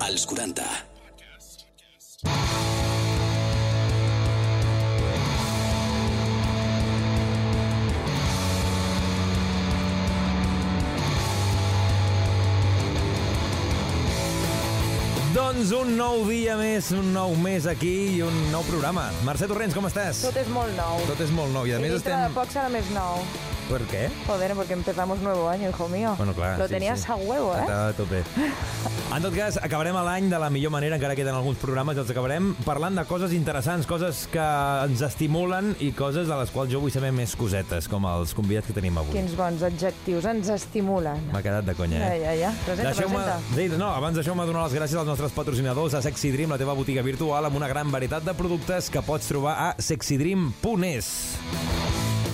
als 40. Doncs un nou dia més, un nou mes aquí i un nou programa. Mercè Torrents, com estàs? Tot es molt nou. Tot és molt nou i a y més dentro de estem... poc serà més nou. Per què? Joder, porque empezamos nuevo año, hijo mío. Bueno, clar, Lo tenías a huevo, eh? Estava a tope. En tot cas, acabarem l'any de la millor manera, encara queden alguns programes, els acabarem parlant de coses interessants, coses que ens estimulen i coses de les quals jo vull saber més cosetes, com els convidats que tenim avui. Quins bons adjectius, ens estimulen. M'ha quedat de conya, eh? Ja, ja, ja. Presenta, Deixeu-me... presenta. Sí, no, abans deixeu-me donar les gràcies als nostres patrocinadors, a Sexy Dream, la teva botiga virtual, amb una gran varietat de productes que pots trobar a sexydream.es.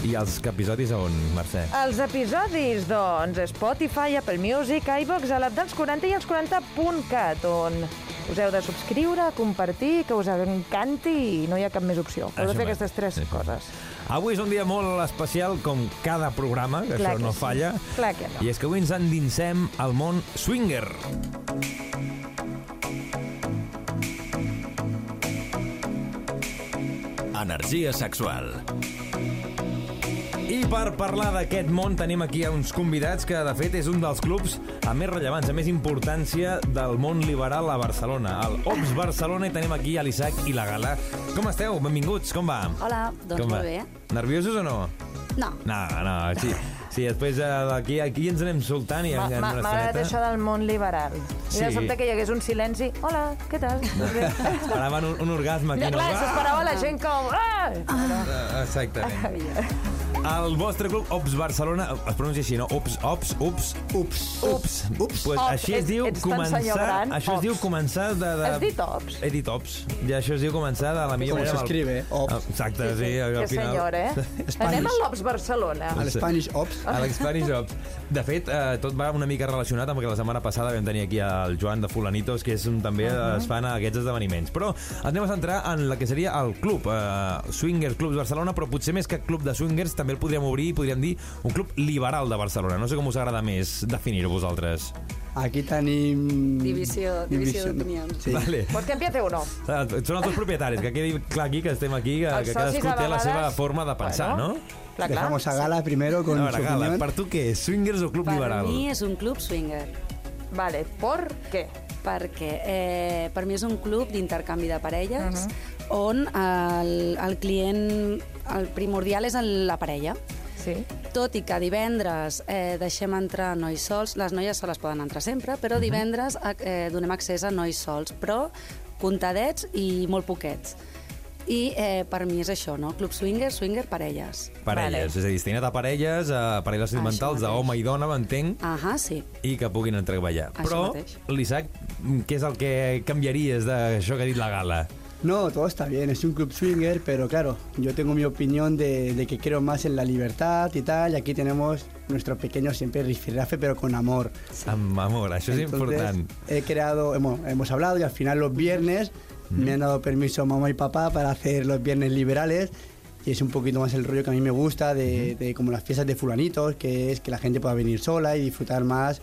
I els episodis a on, Mercè? Els episodis, doncs, Spotify, Apple Music, iVox, a l'app dels 40 i els 40.cat, on us heu de subscriure, compartir, que us encanti i no hi ha cap més opció. Heu Això de fer mateix. aquestes tres Sí. coses. Avui és un dia molt especial, com cada programa, que Clar això que no sí. falla. Clar que no. I és que avui ens endinsem al món swinger. Energia sexual. I per parlar d'aquest món tenim aquí a uns convidats que, de fet, és un dels clubs amb més rellevància, amb més importància del món liberal a Barcelona. Al OPS Barcelona i tenim aquí a l'Isaac i la Gala. Com esteu? Benvinguts, com va? Hola, doncs com molt va? bé. Nerviosos o no? No, No, no, sí. Sí, després eh, d'aquí aquí ens anem soltant i en M'ha m'ha- una m'ha agradat estoneta. això del món liberal. I de Sí. sobte que hi hagués un silenci. Hola, què tal? Doncs bé. Esperaven un, un orgasme aquí, Ja, no? clar, s'esperava la gent com... Ah! Ah, Exactament. El vostre club, Ops Barcelona, es pronuncia així, no? Ops, Ops, Ups, Ups, Ups. Ups. Pues Ops. així es Ets- diu ets tan senyor començar... gran, Això es Ops. diu començar de... de... Has dit Ops? He dit Ops. I això es diu començar de la millor Com manera... s'escrive, eh? Ops. Ah, Exacte, sí, al Que final. senyor, eh? Espais. Anem a l'Ops Barcelona. A l'Spanish Ops. A l'Experience Ops. De fet, eh, tot va una mica relacionat amb el que la setmana passada vam tenir aquí el Joan de Fulanitos, que és un, també uh -huh. es fan aquests esdeveniments. Però ens anem a centrar en la que seria el club, eh, Swingers Clubs Barcelona, però potser més que club de swingers també el podríem obrir i podríem dir un club liberal de Barcelona. No sé com us agrada més definir-ho vosaltres. Aquí mm, tenim... Divisió- divisió d'opinions. Sí. Vale. Pues que empiece uno. Són els dos propietaris, que quedi clar aquí que estem aquí, que, Els que socis, cadascú a té la seva vegades, forma de pensar, bueno, no? Clar, clar. Dejamos a Gala primero con A veure, su Gala, opinión. per tu què és? Swingers o club per liberal? mi és un club swinger, Vale, por què? perquè eh, per mi és un club d'intercanvi de parelles, on el, el client, el primordial és el, la parella. Sí. Tot i que divendres eh, deixem entrar nois sols, les noies soles poden entrar sempre, però divendres eh, donem accés a nois sols, però contadets i molt poquets. I eh, per mi és això, no? Club swinger, swinger, parelles. Parelles, vale. és a dir, destinat a parelles, a parelles sentimentals mateix. d'home i dona, m'entenc, Ahà, sí. i que puguin entrar a ballar. Això Però, mateix. l'Isaac, què és el que canviaries d'això que ha dit la gala? No, todo está bien, es un club swinger, pero claro, yo tengo mi opinión de, de que creo más en la libertad y tal, y aquí tenemos nuestro pequeño siempre rifirrafe, pero con amor. Sí. Amb amor, això és Entonces, important. He creado, hemos, hemos hablado y al final los viernes me han dado permiso mamá y papá para hacer los viernes liberales y es un poquito más el rollo que a mí me gusta de, de como las fiestas de fulanitos, que es que la gente pueda venir sola y disfrutar más,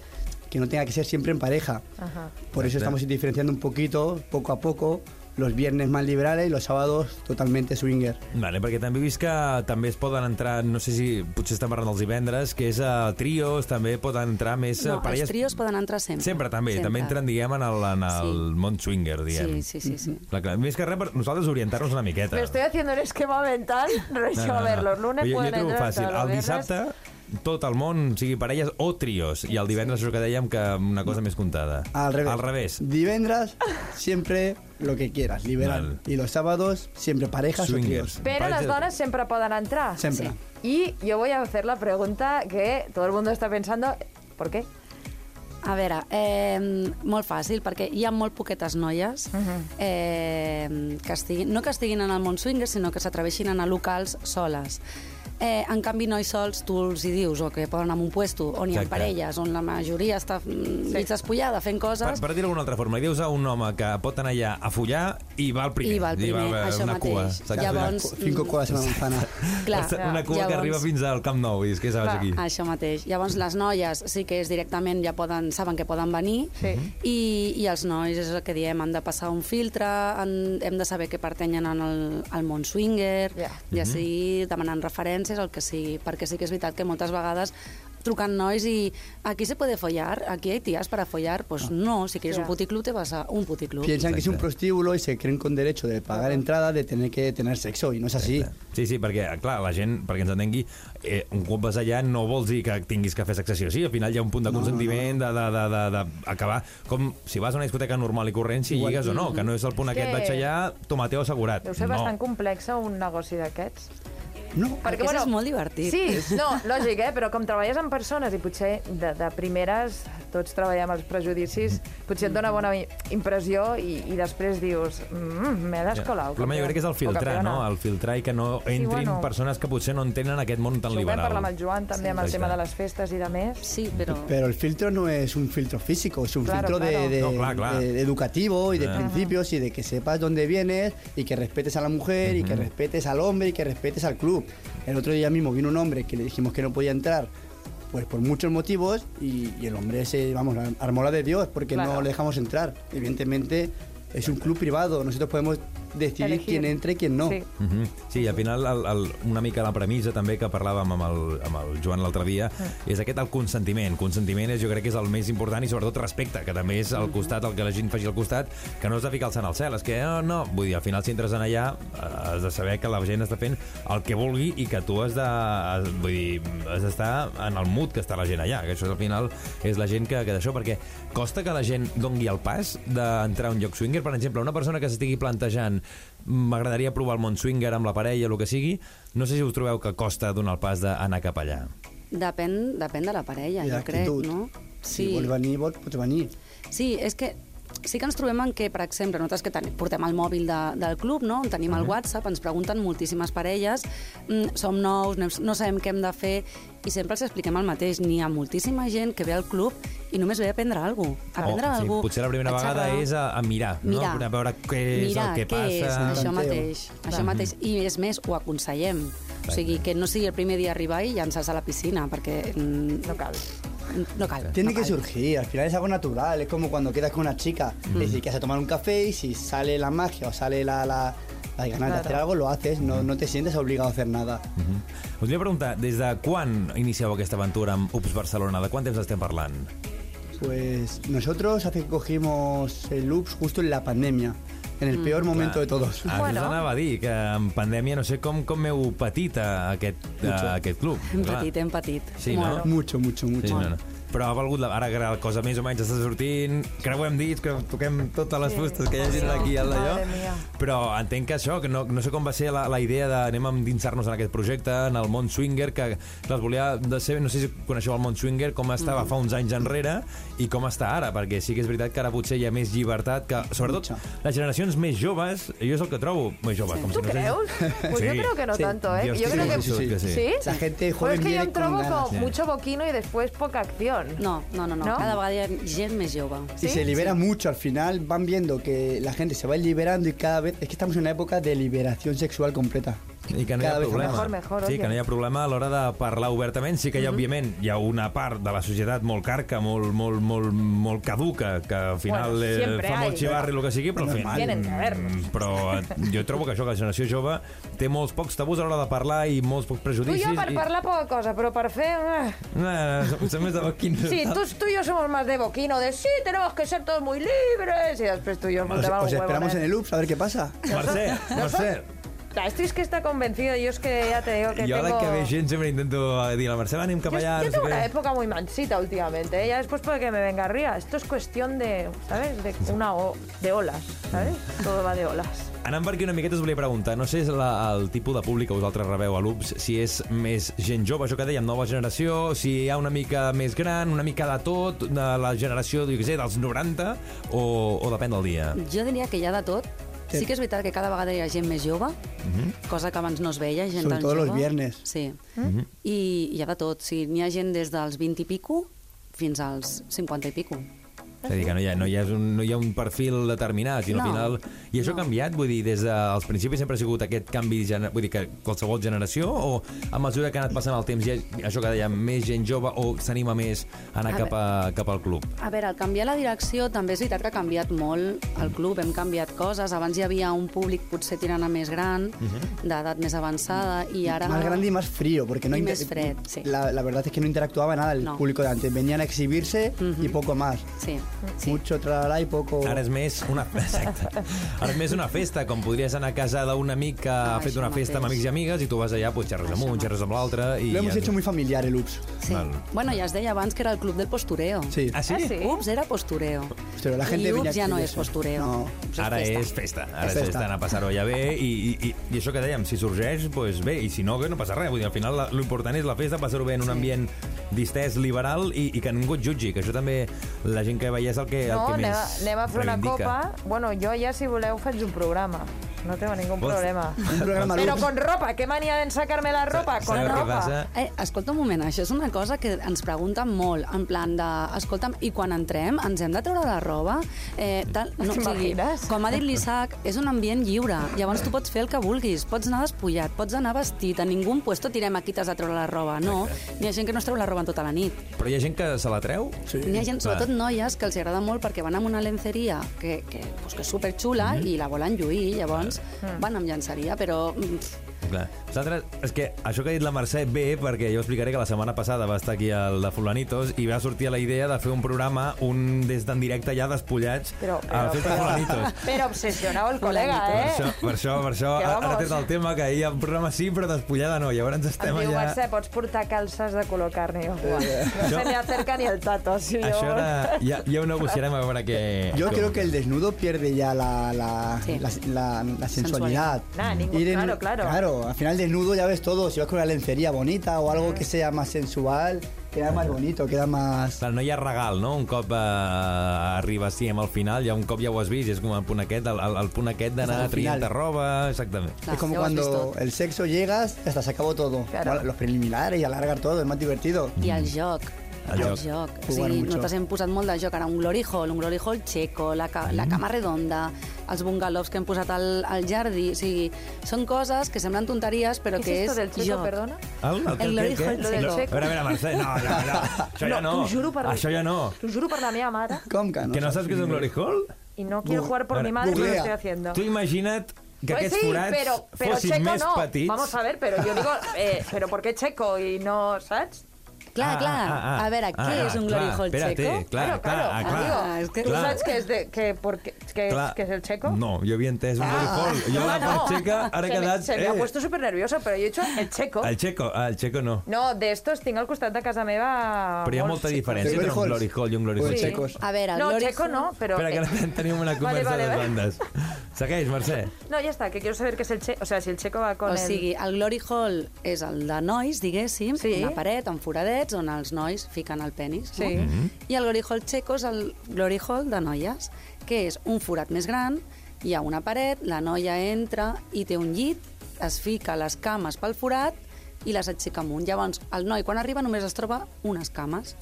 que no tenga que ser siempre en pareja. Ajá. Por Perfecto. eso estamos diferenciando un poquito, poco a poco, los viernes más liberales y los sábados totalmente swinger. Vale, perquè també he vist que també es poden entrar, no sé si potser estan parlant els divendres, que és a trios, també poden entrar més eh, No, els parelles... trios poden entrar sempre. Sempre, també. Sempre. També entren, diguem, en el, en el Sí. món swinger, diguem. Mm-hmm. Sí, sí, sí, sí. Clar, clar. Més que res, per nosaltres orientar-nos una miqueta. Me estoy haciendo un esquema mental. Yo, a ver, los lunes jo, jo pueden trobo entrar fàcil. todos los El viernes. dissabte tot el món, sigui parelles o trios. I el divendres, això que dèiem, que una cosa més comptada. Al revés. Al revés. Divendras, siempre lo que quieras, liberal. Vale. Y los sábados, siempre parejas o Swingers. tríos. Pero Parece- las donas siempre pueden entrar. Siempre. Y yo voy a hacer la pregunta que todo el mundo está pensando, ¿por qué? A veure, eh, molt fàcil, perquè hi ha molt poquetes noies eh, que estiguin, no que estiguin en el món swinger, sinó que s'atreveixin a anar a locals soles. Eh, en canvi, nois sols, tu els hi dius, o que poden anar a un puesto on hi ha Exacte. parelles, on la majoria està mm, mig despullada fent Per, coses, per dir-ho d'alguna altra forma, li dius a un home que pot anar allà a follar i va al primer. I va al primer, eh, això una mateix. Cua, exacte. Llavors- Cinco colas en la manzana. clar, una cua que llavors- arriba fins al Camp Nou i dius, què saps Clar. aquí? Això mateix. Llavors les noies sí que és directament, ja poden, saben que poden venir, Sí. i, i els nois és el que diem, han de passar un filtre, han, hem de saber que pertanyen en el, al món swinger, Ja. yeah. Mhm. ja sigui demanant referències, el que sigui, perquè sí que és veritat que moltes vegades trucant nois i aquí se puede follar, aquí hay tías para follar, pues no, si quieres Ah. Ja. un puticlub te vas a un puticlub. Piensan que es un Exacto. prostíbulo y se creen con derecho de pagar entrada, de tener que tener sexo, y no es así. Sí, sí, perquè, clar, la gent, perquè ens entengui, eh, un cop vas allà no vols dir que tinguis que fer sexació. Sí, al final hi ha un punt de consentiment, no, no, no. d'acabar... Com si vas a una discoteca normal i corrent, si lligues o no, que no és el punt És aquest, vaig que- allà, tomateo assegurat. Deu ser no. bastant complexa un negoci d'aquests. No, Perquè és molt divertit. Sí, no, lògic, eh? però com treballes amb persones i potser de, de primeres tots treballem els prejudicis, potser et dona bona i- impressió i, i després dius, mm, m'he descolat. El problema jo crec que és el filtrar, no? El filtrar i que no entrin sí, bueno, bueno. persones que potser no entenen aquest món tan Això ho vam liberal. parlar amb el Joan també, amb el exacte. tema de les festes i de més. Sí, però... Pero el filtro no es un filtro físico, es un Claro, filtro de- claro. De, No, claro, claro. de- de educativo y de Ajá. principios y de que sepas dónde vienes y que respetes a la mujer y que respetes al hombre y que respetes al club. El otro día mismo vino un hombre que le dijimos que no podía entrar. Pues por muchos motivos y, y el hombre se, vamos, la- armó la de Dios porque Claro. no le dejamos entrar. Evidentemente es un club privado, nosotros podemos decidir Elegir. quién entra y quién no. Sí. Mm -hmm. Sí, i al final el, el, una mica la premissa també que parlàvem amb el, amb el Joan l'altre dia és aquest el consentiment. Consentiment és, jo crec que és el més important i sobretot respecte, que també és al costat, el que la gent faci al costat, que no has de ficar el sant al cel, és que no, no, vull dir, al final si entres en allà eh, has de saber que la gent està fent el que vulgui i que tu has de, has, vull dir, has d'estar en el mood que està la gent allà, que això és, al final és la gent que, que d'això, perquè costa que la gent dongui el pas d'entrar a un lloc swinger, per exemple, una persona que s'estigui plantejant m'agradaria provar el món swinger amb la parella, el que sigui, no sé si us trobeu que costa donar el pas d'anar cap allà. Depèn, depèn de la parella, I jo crec, l'actitud. no? Si vols venir, vols, pots venir. Sí, és que sí que ens trobem en què, per exemple, nosaltres que ten, portem el mòbil de, del club, no? tenim el WhatsApp, ens pregunten moltíssimes parelles, mm, som nous, no, no sabem què hem de fer, i sempre els expliquem el mateix. N'hi ha moltíssima gent que ve al club i només ve a aprendre alguna cosa. A aprendre o, alguna Oh, potser la primera vegada és a, a mirar, mirar, no? a veure què és mirar, el que què passa. És, això Tanteo. mateix, això mateix. I és més, ho aconsellem. O sigui, que no sigui el primer dia arribar i llançar-se a la piscina, perquè... mm, No cal. No cal. Tiene no que cal. surgir, al final es algo natural, es como cuando quedas con una chica, Mm. es decir, que vas a tomar un café y si sale la magia o sale la, la, las ganas de hacer algo, lo haces, no, no te sientes obligado a hacer nada. Mhm. Us volia preguntar, des de quan inicieu aquesta aventura amb Ups Barcelona? De quant temps estem parlant? Pues nosotros hace que cogimos el loops justo en la pandemia, en Mm. el peor momento de todos. Ah, bueno. Bueno. Això us anava a dir, que en pandèmia no sé com, com heu patit a aquest, a aquest club. Hem clar. patit, hem patit. Sí, no? Molt. Mucho, mucho, mucho. Sí, no, no. Però ha valgut la... Ara que la cosa més o menys està sortint, creuem dits, que toquem totes les fustes que hi ha gent d'aquí al Madre mía. d'allò. Però entenc que això, que no, no sé com va ser la, la idea de anem a endinsar-nos en aquest projecte, en el món swinger, que clar, es volia de ser, no sé si coneixeu el món swinger, com estava Mm. fa uns anys enrere i com està ara, perquè sí que és veritat que ara potser hi ha més llibertat, que sobretot Mucha. les generacions més joves, jo és el que trobo, més joves. Com ¿Tú no sé creus? Pues yo creo que no tanto, ¿eh? Dios, yo sí, creo sí, que... sí, que sí. La gente Pero joven es que yo viene me trobo con ganas. con mucho boquino y después poca acción. No, no, no, no. No? Cada vegada hi ha gent més jove. Y ¿Sí? se libera mucho, al final van viendo que la gente se va liberando y cada vez, es que estamos en una época de liberación sexual completa. I que no Cada hi ha vez problema. mejor, mejor, sí, oye. Mm-hmm. que no hi ha problema a l'hora de parlar obertament. Sí que hi ha, òbviament, hi ha una part de la societat molt carca, molt, molt, molt, molt caduca, que al final Bueno, eh, siempre fa hay. molt xivarri, el que sigui, però al final... Tienen que haberlos. Mm, Però eh, jo trobo que això, que la generació jove té molts pocs tabús a l'hora de parlar i molts pocs Tú y prejudicis. yo para hablar poca cosa, pero para hacer... ah. No, no, no, som més de boquins. Sí, tú, tú y yo somos más de boquino, de sí, tenemos que ser todos muy libres. Y después tú y yo nos Os, damos os un huevo, esperamos ¿eh? en el loops a ver qué pasa. Mercè, Mercè, Ah, Esto es que está convencido, yo es que ya te digo que jo a la tengo... que ve gent sempre intento eh, dir a la Mercè, va, anem cap Yo, allà. no sé yo tengo una què". época muy mansita últimamente, ¿eh? ya después puede que me venga arriba. Esto es cuestión de, ¿sabes? De una o, de olas, ¿sabes? Todo va de olas. Anant per aquí una miqueta us volia preguntar, no sé és la, el tipus de públic que vosaltres rebeu a l'UPS, si és més gent jove, això que dèiem, nova generació, si hi ha una mica més gran, una mica de tot, de la generació, jo què sé, dels 90, o, o depèn del dia? Jo diria que hi ha de tot, Sí que és veritat que cada vegada hi ha gent més jove, cosa que abans no es veia, gent tan Sobretot jove. los viernes. Mhm. Sí. I hi ha de tot. Sí, n'hi ha gent des dels 20 i pico fins als 50 i pico. És a dir, que no hi ha, no hi ha, un, no hi ha un perfil determinat, sinó no, No, al final... I això no. ha canviat? Vull dir, des dels principis sempre ha sigut aquest canvi, gener- vull dir, que qualsevol generació, o a mesura que ha anat passant el temps, hi ha, això que deia, més gent jove o s'anima més a anar A cap, a, cap al club? A veure, al canviar la direcció també és veritat que ha canviat molt el club, hem canviat coses, abans hi havia un públic potser tirant a més gran, d'edat més avançada, i ara... Más grande y más frío, porque no Y inter- más fred, sí. la, la verdad es que no interactuaba nada el No. público de antes. Venían a exhibirse y poco más. Sí, sí. Mucho tralala y poco. Ara és més una... Exacte. Ara és més una festa, com podries anar a casa d'un amic que ha Ah, fet això una festa amb mateix. amics i amigues i tu vas allà, pues, xerres amb Això un, xerres amb l'altre... i Lo hemos ja- hecho muy familiar el UPS. sí. Val. Bueno, ja es deia abans que era el club del postureo. Sí. Ah, sí? Ah, sí? Ups, era postureo. Pero la gente I venía a ups ja no és exhibirse. postureo. No. Ups Ara és festa. festa, És ara és festa. festa, anar a passar-ho ja bé, i, i, i, i això que dèiem, si sorgeix, doncs bé, i si no, que no passa res. Vull dir, al final la- l'important és la festa, passar-ho bé en un ambient distès, liberal, i, i que ningú et jutgi, que això també la gent que veia és el que, el No, que anem, a- més anem a fer una reivindica. copa. Bueno, jo ja, si voleu, faig un programa. No tengo ningún Vols- problema. Un programa Pero Lux. con ropa. ¿Qué manía de sacarme la ropa? Con Sabeu què ropa. passa? Eh, escolta un moment, això és una cosa que ens pregunten molt, en plan de, escolta'm, i quan entrem ens hem de treure la roba? Eh, tal, no, o sigui, T'imagines? com ha dit l'Isaac, és un ambient lliure, llavors tu pots fer el que vulguis, pots anar despullat, pots anar vestit, a ningú puesto tirem aquí t'has de treure la roba, no, n'hi ha gent que no es treu la roba en tota la nit. Però hi ha gent que se la treu? Sí. N'hi ha gent, Clar. sobretot noies, que els agrada molt perquè van amb una lenceria que, que, pues, que és superxula Mhm. i la volen lluir, llavors Ah. van amb llenceria, però... mm, Clar. Vosaltres, és que això que ha dit la Mercè ve perquè jo explicaré que la setmana passada va estar aquí al de Fulanitos i va sortir la idea de fer un programa un des d'en directe ja despullats Però, a la però, festa però- Fulanitos. Pero obsesionado el colega, Per eh? això, per això, per això Que ha, ha vamos. tret el tema que ahir el programa sí, però despullada no. Llavors Em estem diu, Mercè, allà... pots portar calces de color carne. Jo, "Buah, no Això- se me acerca ni el tato. Si Això jo- ara ja, ja ho negociarem a veure què... Yo com- creo que el desnudo pierde ya la, la, Sí. la, la- la sensualidad. Nah, ningún- Ir en- claro, claro. al final desnudo ya ves todo. Si vas con una lencería bonita o algo que sea más sensual, queda más bonito, queda más... Clar, no hi ha regal, no? Un cop eh, arriba sí amb el final, ja un cop ja ho has vist, és com el punt aquest, el, el, el punt aquest d'anar Al final. traient roba, exactament. clar, es como ja ho has vist cuando tot. el sexo llegas, hasta se acabó todo. Claro. Bueno, Los preliminares y alargar todo, es más divertido. I el joc. El El, Mhm. joc. joc. joc. Jugar O sigui, mucho. nosaltres hem posat molt de joc. Ara, un glory hall, un glory hall checo, la, ca Mhm. la cama redonda, els bungalows que hem posat al, al jardí. O sigui, són coses que semblen tonteries, però ¿Qué es que és esto del chico, joc. perdona? El, el, El què, lo dijo què? el Lo del No, checo. A veure, a veure, Mercè, no, no, no, això ja no. t'ho juro per... Això ja no. T'ho juro per la meva mare. Com que no? Que no saps què és un glory hall? Y no quiero Bu- jugar por Ahora, mi madre, pero lo googlea. estoy haciendo. Tu imagina't que Pues aquests sí, forats pero, pero fossin checo més no. petits. Vamos a ver, pero yo digo, eh, pero ¿por qué checo y no, saps? Clar, Ah, ah, clar. ah, ah. a veure, Ah, què és un clar, glory hall espérate, checo? Clar, claro, claro. clar, ah, clar. amigo. Ah, es que- ¿Tú clar. sabes que es, de, que porque, que, es- Clar. que es el checo? Ah. No, jo havia entès un glory hall. Jo la part checa, ara he se quedat... Me, se me ha puesto súper nerviosa, pero yo he hecho el checo. El Eh, checo, ah, el checo no. No, de estos tinc al costat de casa meva... Però hi ha molts molta checos. diferència Glory entre un halls. glory hall i un glory O hall. Sí. checo. checos. A veure, el No, glory checo hall- no, pero... eh, Espera, que ara tenim una conversa vale, de vale. bandes. Segueix, Mercè. No, ya está, que quiero saber qué es el checo. O sea, si el checo va con O el... sigui, el Glory Hall és el de nois, diguéssim, Sí. una paret amb foradets on els nois fiquen el penis. Sí. No? Mhm. I el Glory Hall txeco és el Glory Hall de noies, que és un forat més gran, hi ha una paret, la noia entra i té un llit, es fica les cames pel forat i les aixeca amunt. Llavors, el noi, quan arriba, només es troba unes cames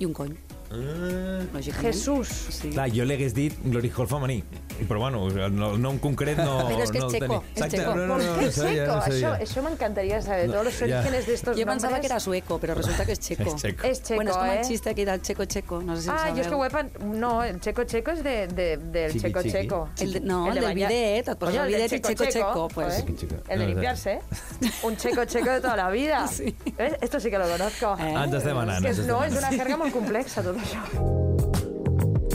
i un cony, Eh, lògicament. Jesús. Sí. Clar, jo l'hagués dit glory hall femení. Però bueno, el nom concret no... Però és que és no el checo, tenia. és Exacte, checo. no, no, ¿Por no, qué no sabia, checo? no eso, sabía. eso me encantaría saber, todos los Ya. orígenes de estos Jo pensava nombres. que era sueco, però resulta que és txeco. És checo. Es doncs checo, bueno, és com eh? el xiste aquí del txeco-txeco, no sé si ho Ah, sabeu. yo es que huepa... No, el checo-checo es de, de- del Chiqui, chiqui. checo-checo. El de- no, el de del bañar- bidet, et poses Coño, el del bidet i checo-checo, pues. joder. Chiqui, chiqui. El de No, limpiarse, ¿eh? Un checo-checo de toda la vida. Sí. ¿Ves? Esto sí que lo conozco. Eh? Ens estem anant. Que ens és- estem no, anant. és una jerga molt complexa, tot això.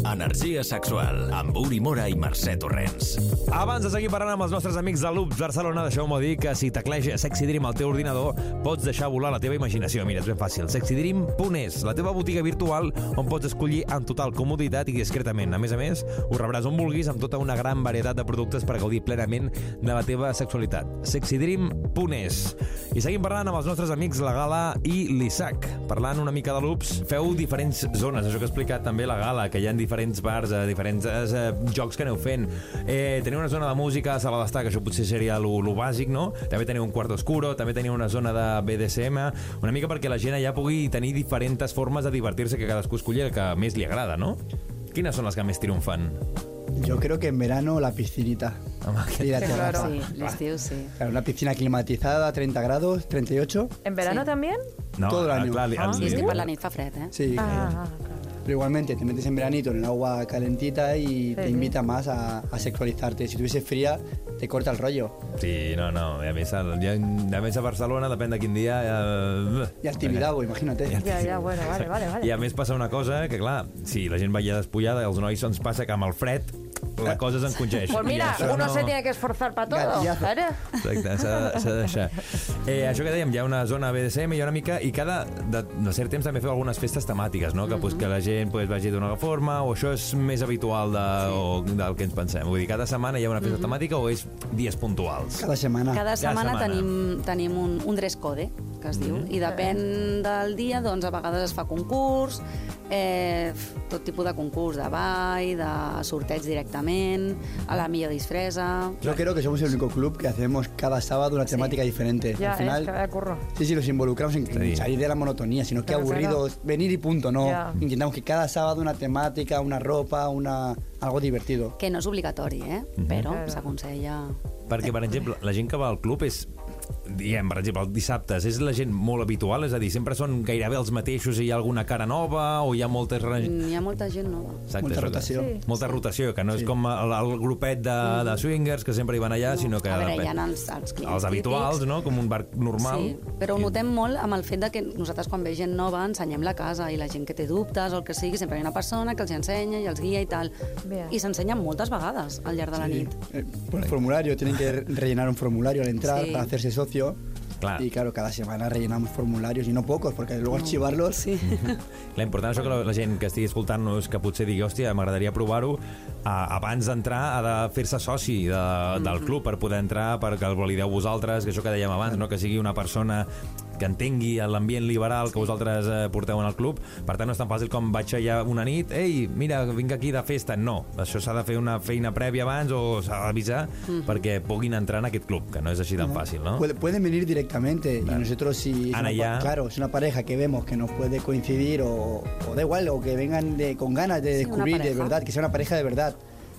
Energia sexual amb Uri Mora i Mercè Torrents. Abans de seguir parlant amb els nostres amics de Loops Barcelona, deixeu-me dir que si tecleges Sexy Dream al teu ordinador, pots deixar volar la teva imaginació. Mira, és ben fàcil. Sexydream.es, la teva botiga virtual on pots escollir amb total comoditat i discretament. A més a més, ho rebràs on vulguis amb tota una gran varietat de productes per gaudir plenament de la teva sexualitat. Sexydream.es. I seguim parlant amb els nostres amics la Gala i l'Isaac. Parlant una mica de Loops, feu diferents zones, això que ha explicat també la Gala, que hi ha diferents diferents bars, a diferents eh, jocs que aneu fent. Eh, teniu una zona de música, sala d'estar, que això potser seria lo, lo bàsic, no? També teniu un quart oscuro, també teniu una zona de BDSM, una mica perquè la gent allà pugui tenir diferents formes de divertir-se que cadascú escolli el que més li agrada, no? Quines són les que més triomfan? Yo creo que en verano la piscinita. Home, que- Y la Qué terraza. raro. Sí, l'estiu sí. Claro, una piscina climatizada, 30 grados, 38. ¿En verano Sí. también? Todo el año. li- Ah. Sí, és que per la nit fa fred, eh? Sí. Ah, ah, ah. Pero igualmente te metes en veranito en el agua calentita y te Sí. invita más a, a sexualizarte. Si tuviese fría, te corta el rollo. Sí, no, no. A més, el- ja- a, més a Barcelona, depèn de quin dia... Eh... Y actividad, güey, imagínate. Ya, ya, bueno, vale, vale, vale. I a més passa una cosa que, clar, si la gent va allà despullada, els nois ens passa que amb el fred la cosa s'encongeix. Pues I mira, això uno se tiene que esforzar para todo. Gatillazo. Claro. Exacte, s'ha de, s'ha de deixar. Eh, això que dèiem, hi ha una zona BDSM, hi ha una mica... I cada... De, de cert temps també feu algunes festes temàtiques, no? Que, pues, Mhm. que la gent pues, vagi d'una forma, o això és més habitual de, o, del que ens pensem. Vull dir, cada setmana hi ha una Mhm. festa temàtica o és dies puntuals? Cada semana. Cada setmana, setmana. tenim, tenim un, un dress code, que es diu, i depèn del dia, doncs a vegades es fa concurs, eh, tot tipus de concurs, de ball, de sorteig directament, a la millor disfresa... Yo creo que somos el único club que hacemos cada sábado una temática diferente. Al Ya, es que final, vaya curro. sí, sí, los involucramos en Sí. salir de la monotonía, sino que Claro, aburrido claro. es venir y punto, no. Ya. Intentamos que cada sábado una temática, una ropa, una algo divertido. que no és obligatori, eh? però Claro. s'aconsella... Perquè, per exemple, la gent que va al club és diem, per exemple, els dissabtes, és la gent molt habitual? És a dir, sempre són gairebé els mateixos i hi ha alguna cara nova o hi ha moltes... re- Hi ha molta gent nova. Exacte, Molta això que- rotació. Sí. Molta rotació, que no és com el, el grupet de, de swingers que sempre hi van allà, sinó que... Mm. a veure, hi ha depèn- els, els clients els habituals, típics. no? Com un bar normal. Sí, però ho I- notem molt amb el fet de que nosaltres quan ve gent nova ensenyem la casa i la gent que té dubtes o el que sigui, sempre hi ha una persona que els ensenya i els guia i tal. Bien. I s'ensenyen moltes vegades al larg de la nit. Eh, por el formulario, tienen que re- rellenar un formulario al entrar Sí. para hacerse socio. Claro. Y claro, cada semana rellenamos formularios y no pocos, porque luego archivarlos. Sí. La important és això que la, la gent que estigui escoltant-nos que potser digui, hòstia, m'agradaria provar-ho a- abans d'entrar ha de fer-se soci de, del club per poder entrar perquè el valideu vosaltres, que això que dèiem abans no? que sigui una persona que entengui l'ambient liberal que vosaltres eh, porteu en el club. Per tant, no és tan fàcil com vaig allà una nit, ei, mira, vinc aquí de festa. No, això s'ha de fer una feina prèvia abans o s'ha d'avisar perquè puguin entrar en aquest club, que no és així tan fàcil, no? Puede- pueden venir directamente y nosotros si es Ana una, ya. pa- claro es una pareja que vemos que nos puede coincidir o, o da igual o que vengan de, con ganas de Sí, una descubrir de pareja. verdad que sea una pareja de verdad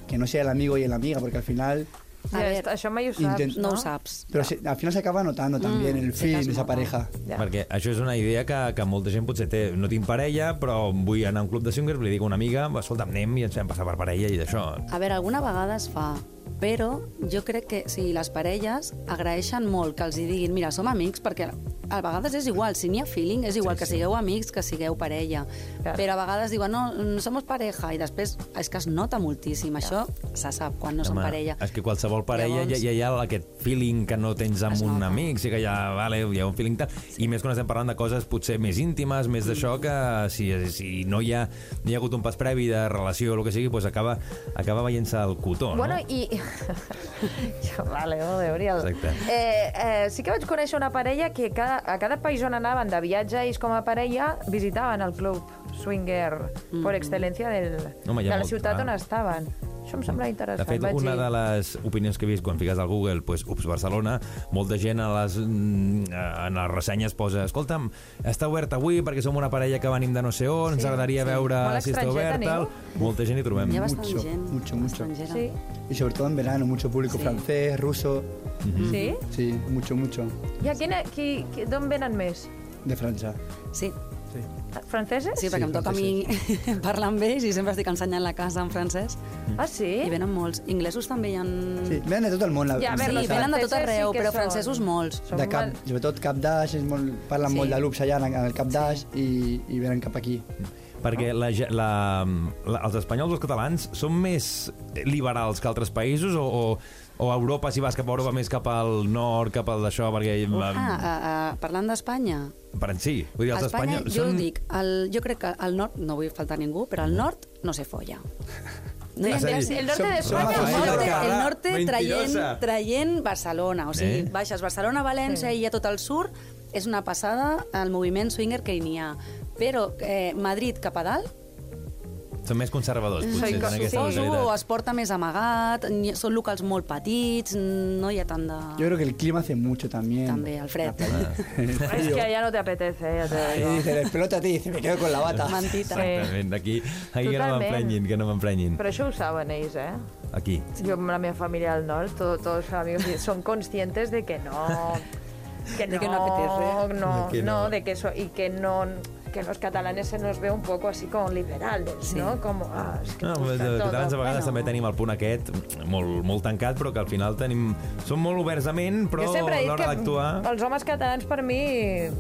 que no sea el amigo y la amiga porque al final A Ya, ver, esto- això mai ho saps, intent- No no? ho saps. pero se- al final se acaba notando también el se feeling de casó, esa ¿no? pareja Ja. Perquè això és una idea que, que molta gent potser té. No tinc parella, però vull anar a un club de swingers, li dic a una amiga, "Va, escolta'm, anem i ens fem passar per parella i d'això. A veure, alguna vegada es fa, però jo crec que sí, les parelles agraeixen molt que els hi diguin mira, som amics, perquè a vegades és igual, si n'hi ha feeling, és igual sí, que sigueu amics que sigueu parella. Clar. Claro. Però a vegades diuen, no, no somos pareja, i després és que es nota moltíssim, això se sap quan no són parella. és que qualsevol parella Llavors... Llavors- ja, ja hi ha aquest feeling que no tens amb Es un nota. amic, sí que ja, vale, hi ha un feeling tal. Sí. I més quan estem parlant de coses potser més íntimes, més d'això, que si, si no hi ha, no hi ha hagut un pas previ de relació o el que sigui, doncs acaba, acaba veient-se el cotó, Bueno, no? i... vale, joder, Oriol. Exacte. Eh, eh, sí que vaig conèixer una parella que cada, a cada país on anaven de viatge, ells com a parella visitaven el club swinger Mm. per excel·lència del, Home, hi de ha la molt, ciutat clar. Mm. on estaven. Això em sembla De interessant. fet, vaig una dir. de les opinions que he vist quan fiques al Google, pues, ups, Barcelona, molta gent a les, mm, a- en les ressenyes posa escolta'm, està oberta avui perquè som una parella que venim de no sé on, sí, ens agradaria sí. veure Molt si està estrangera oberta. teniu? tal. Molta gent hi trobem. Hi ha bastant Mucho, gent. mucho, mucho. estrangera. Sí, y sobre todo en verano mucho público francés ruso Mm. sí? sí mucho mucho I a quina, qui, qui, d'on venen més? de Francia Sí, Franceses? sí, perquè em toca a mi parlar amb ells i sempre estic ensenyant la casa en francès. Mm. Ah, sí? I venen molts. Inglesos també hi ha... sí ven de todo el mundo la- Ja, a veure, Sí, los venen de tot francesos arreu, sí que però són- francesos molts. Són de molt- Cap, sobretot Cap Dash, és molt, parlen Sí. molt de l'Ups allà, en el Cap Dash, i, i venen cap aquí. Perquè la, ge- la, la, els espanyols o els catalans són més liberals que altres països o, o, o a Europa, si vas cap a Europa, més cap al nord, cap al d'això, perquè... mm, Ah, ah, ah, parlant d'Espanya, Per en sí. Vull dir, A els Espanya, espanyols jo són... ho dic, el, jo crec que al nord, no vull faltar a ningú, però al nord no se folla. No hi ha És a dir, gràcia. El norte Som- de som Espanya El Rafael norte, el Alcalá, norte traient, mentirosa. traient Barcelona, o sigui, Eh? baixes Barcelona, València Sí. i ja tot el sur, és una passada el moviment swinger que hi n'hi ha. Però eh, Madrid cap a dalt, Són més conservadors, potser. Soy tenen con- aquesta Suposo, mentalitat. es porta més amagat, ni- són locals molt petits, no hi ha tant de... Yo creo que el clima hace mucho también. També, el fred. Ah. Es que allá no te apetece, ya te Y digo. dice, "Despelota a ti", dice, me quedo con la bata. Mentita. Sí. Exactament, aquí, aquí que no Totalment. m'emprenyin, que no m'emprenyin. Pero eso usaban ellos, ¿eh? Aquí. Yo, la mi familia del norte, todo- todos los amigos son conscientes de que no... Que no, De que no apetece. no, De que no, no. de que eso, y que no que los catalanes se nos ve un poco así como liberales, ¿no? Como, ah, es que No, nos de, gusta de todo. catalans a vegades també tenim el punt aquest molt, molt tancat, però que al final tenim... Som molt oberts de ment, però Jo a sempre he dit l'hora que d'actuar... els homes catalans, per mi, eh,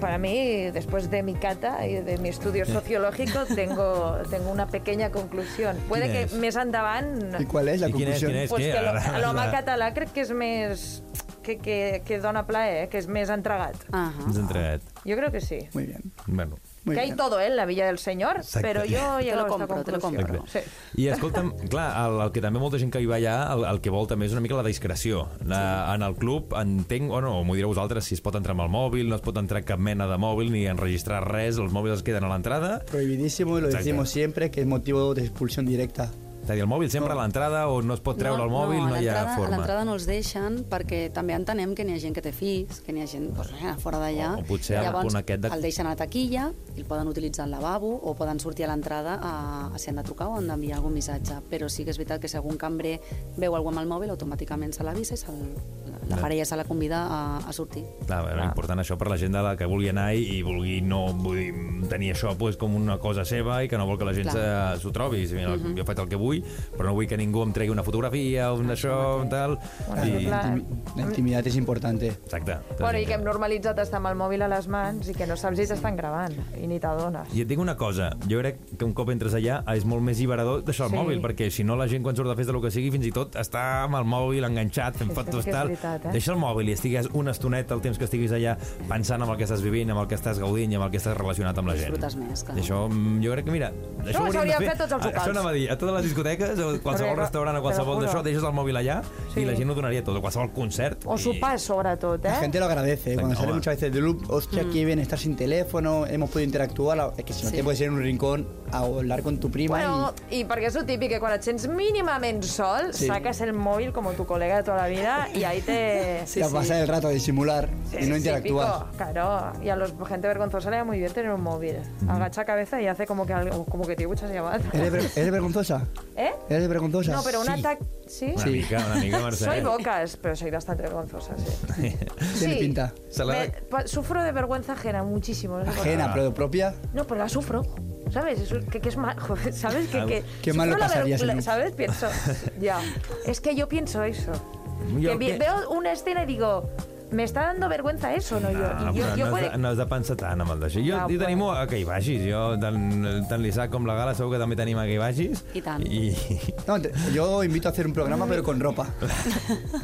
per a mi, després de mi cata y de mi estudio sociológico, tengo, tengo una pequeña conclusión. Puede Quina que és? més endavant... ¿Y cuál es la ¿Y quién es? conclusión? ¿Quién es? Pues que que ara- l'ho- l'home la- català crec que és més... Que, que, que dona plaer, eh, que és més entregat. Ahà. Ens ha entregat. Jo crec que sí. Muy bien. Bueno, Muy que hay bien. todo, eh, en la Villa del Señor, Exacte. però jo he Te lo llegat a esta compro, te lo conclusió. compro. Exacte. Sí. I escolta'm, clar, el, el que també molta gent que hi va allà, el, el que vol també és una mica la discreció. La, en el club entenc, o no, m'ho direu vosaltres, si es pot entrar amb el mòbil, no es pot entrar cap mena de mòbil ni enregistrar res, els mòbils es queden a l'entrada. Prohibidísimo, y lo Exacto. decimos siempre, que es motivo de expulsión directa. És a dir, el mòbil sempre a l'entrada o no es pot treure el mòbil, no, a hi ha l'entrada- A forma. l'entrada no els deixen perquè també entenem que n'hi ha gent que té fills, que n'hi ha gent doncs, eh, fora d'allà. O- o potser el Llavors, punt aquest de- el deixen a la taquilla, i el poden utilitzar al lavabo o poden sortir a l'entrada a, a si han de trucar o han d'enviar algun missatge. Però sí que és veritat que si algun cambrer veu algú amb el mòbil, automàticament se l'avisa i se l- la, la parella se la convida a, a sortir. Clar, era important això per la gent de la que vulgui anar i, i vulgui no vull dir, tenir això pues, com una cosa seva i que no vol que la gent Clar. se- s'ho trobi. Si, mira, uh Mhm. -huh. Jo faig el que vull, però no vull que ningú em tregui una fotografia, un això, un tal... Bueno, I, clar. Ah. La intimidad es ¿Eh? importante. exacte. Bueno, i que hem normalitzat estar amb el mòbil a les mans i que no saps si t'estan gravant i ni t'adones. I et dic una cosa, jo crec que un cop entres allà és molt més liberador deixar el Sí. mòbil, perquè si no la gent quan surt de festa el que sigui, fins i tot està amb el mòbil enganxat, fent Sí, sí, fotos sí que és tal. veritat, eh? Deixa el mòbil i estigues una estoneta el temps que estiguis allà pensant en el que estàs vivint, en el que estàs gaudint i en el que estàs relacionat amb la gent. Disfrutes més, clar. I això, mm, jo crec que, mira, Això ho hauríem s'hauria de de fer a tots els Ah, locals. Això anava a dir, a totes les discoteques, o qualsevol Perquè, restaurant, te o lo qualsevol juro. d'això, deixes el mòbil allà Sí. i la gent ho donaria tot, o qualsevol concert. O sopar, sobretot, eh? La gente lo agradece. Venga, Cuando sale va. muchas veces de loop, hostia, qué Mm. bien estar sin teléfono, hemos podido interactuar. Es que si no Sí. te puedes ir en un rincón a hablar con tu prima Bueno, i perquè és el típic, que quan et sents mínimament sol, Sí. sacas el móvil como tu colega de toda la vida y ahí te... y a pasar el rato a disimular y no Sí, interactuar. pico, claro, y a los gente vergonzosa le da muy bien tener un móvil. Agacha cabeza y hace como que algo, como que tiene muchas llamadas. ¿Eres, ver- eres vergonzosa? ¿Eh? ¿Eres vergonzosa? No, pero un ataque, ¿sí? Una Sí. mica, una mica, Mercè. Soy bocas, pero soy bastante vergonzosa, sí. Tiene pinta. Se la- Me- pa- sufro de vergüenza ajena muchísimo. No, sé por qué. Ah. Ajena, pero propia. No, pero la sufro. ¿Sabes? Eso es- que, que es mal. joder, ¿Sabes? Que, que Qué mal sufro lo la ver- pasarías en la- un- ¿Sabes? Pienso. ya. Es que yo pienso eso. Yo Que vi- que- Veo una escena y digo, me está dando vergüenza eso, ¿no? No, yo, y yo, Ah, però yo no, puede- has de, no has de pensar tant amb el d'això. Jo, No, jo però- t'animo a que hi vagis. Jo, tant, tant l'Isaac com la Gala segur que també t'anima a que hi vagis. I tant. I, No, te- yo invito a hacer un programa, pero con ropa.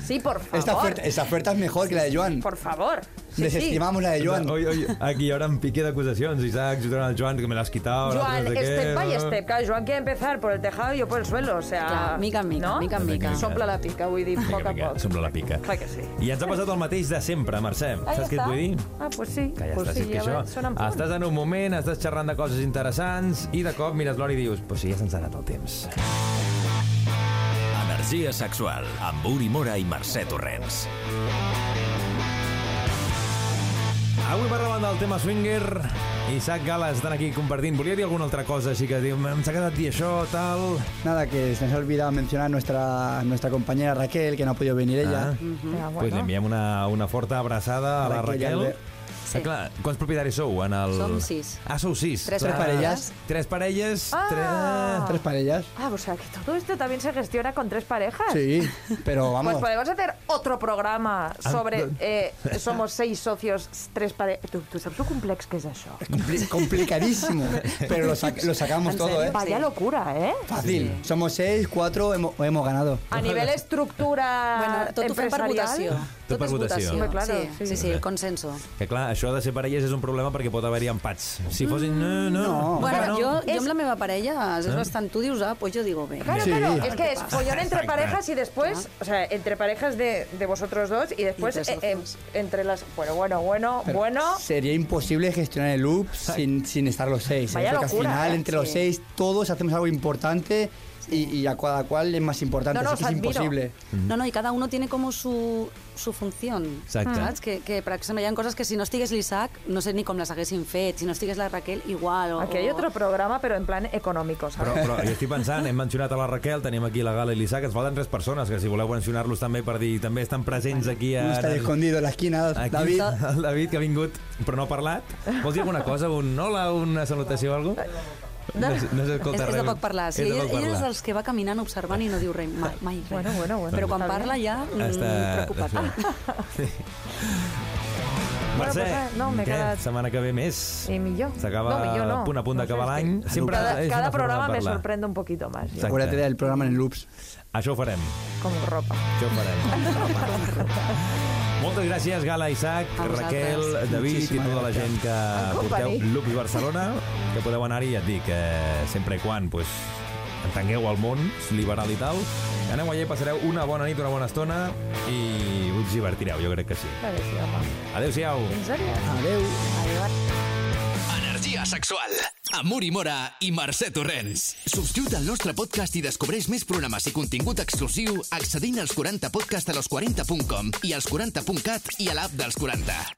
Sí, por favor. Esta oferta, esa oferta es mejor que la de Joan. Por favor. Sí, sí. Desestimamos la de Eh, Joan. Oi, oi, aquí hi haurà un pique d'acusacions. Isaac, junt al Joan, que me l'has quitat. Joan, no sé què, step by no? step. Claro, Joan quiere empezar por el tejado y yo por el suelo, o sea... Clar, mica en mica, no? mica en mica. Sopla la pica, vull dir, Mica, poc a mica, poc. Sembla la pica. Clar que sí. I ens ha passat el mateix de sempre, Mercè. Ahí Saps què et està. vull dir? Ah, pues sí. Que ja pues està, si sí, és que ja veig, això... sona en punt. Estàs en un moment, estàs xerrant de coses interessants i de cop mires l'hora i dius pues sí, ja se'ns ha anat el temps. Energia sexual amb Uri Mora i Mercè Torrents. Avui parlàvem del tema swinger. Isaac Gala estan aquí compartint. Volia dir alguna altra cosa, així que diu, em s'ha quedat dir això, tal... Nada, que se nos ha olvidado mencionar nuestra, nuestra compañera Raquel, que no ha podido venir ella. Ah. Ja, Bueno. Pues li enviem una, una forta abraçada a la Raquel i Raquel. Albert. Sí. Ah, clar, quants propietaris sou en el... Som sis. Ah, sou sis. Tres clar. parelles. Tres parelles. Ah! Tres parellas. Ah, o sea, que todo esto también se gestiona con tres parejas. Sí, pero Ah. Pues vamos. podemos hacer otro programa sobre Ah, no. eh, somos seis socios, tres parejas... Tu, tu saps lo complex que és això? Compli- complicadísimo. Pero lo, sac- lo sacamos ¿En todo, serio? ¿eh? Vaya locura, eh? Fácil. Somos seis, cuatro, hemos, hemos ganado. A nivell estructura Bueno, tot ho fem per Ah, empresarial? votació. Tot per votació. Home, claro, sí, sí. sí, sí, consenso. Que clar, això això de ser parelles és un problema perquè pot haver-hi empats. Si fossin... No, no. no. Bueno, no. jo, jo Es- amb la meva parella Ah. és bastant... Tu dius A, pues jo digo B. Claro, Sí. claro, A es que ver qué es pasa. follón entre parejas y después, o sea, entre parejas de, de vosotros dos y después de esos eh, eh, dos. entre las... Bueno, bueno, bueno, Pero bueno... Sería imposible gestionar el loop sin, sin estar los seis. ¿eh? Vaya Porque locura, al final, ¿eh? entre los Sí. seis, todos hacemos algo importante y, y a cada cual es más importante. No, no, así que os es admiro. imposible. No, no, i cada uno tiene como su, su función. Exacte. Saps? Que, que, per exemple, hi ha coses que si no estigués l'Isaac, no sé ni com les haguessin fet. Si no estigués la Raquel, igual. O, Aquí hay otro programa, pero en plan económico, Però, ¿sabes? però jo estic pensant, hem mencionat a la Raquel, tenim aquí la Gala i l'Isaac, ens falten tres persones, que si voleu mencionar-los també per dir també estan presents aquí a... Uno está escondido en la esquina, Aquí, David. El David, que ha vingut, però no ha parlat. Vols dir alguna cosa? Un hola, una salutació o alguna cosa? No, no, no és, s'escolta és de poc parlar. Sí, És de ell, poc ell és parlar. dels que va caminant observant i no diu res, mai, mai res. Bueno, bueno, bueno, Però quan està parla bien. ja... Mm, Està- preocupa't. Bueno, Mercè, pues res, no, què? m'he quedat- Setmana que ve més. I millor. S'acaba No, millor no. punt a punt No d'acabar sé, l'any. és que Sempre cada, és una cada forma de programa me parlar. sorprende un poquito más, yo, Exacte. Acuérdate del programa en loops. Això ho farem. como ropa. Això ho farem. Moltes gràcies, Gala, Isaac, A vosaltres. Raquel, David i Moltíssimes tota la gent que porteu company. Lux Barcelona, que podeu anar-hi, ja et dic, eh, sempre i quan pues, entengueu el món liberal i tal. Aneu allà i passareu una bona nit, una bona estona i us divertireu, jo crec que sí. A ver si vamos. Adéu-siau. ¿En serio? Adeu. Energia sexual. Amuri Mora i Mercè Torrents. Subscriu't al nostre podcast i descobreix més programes i contingut exclusiu accedint als 40podcastalos40.com i als 40.cat i a l'app dels 40.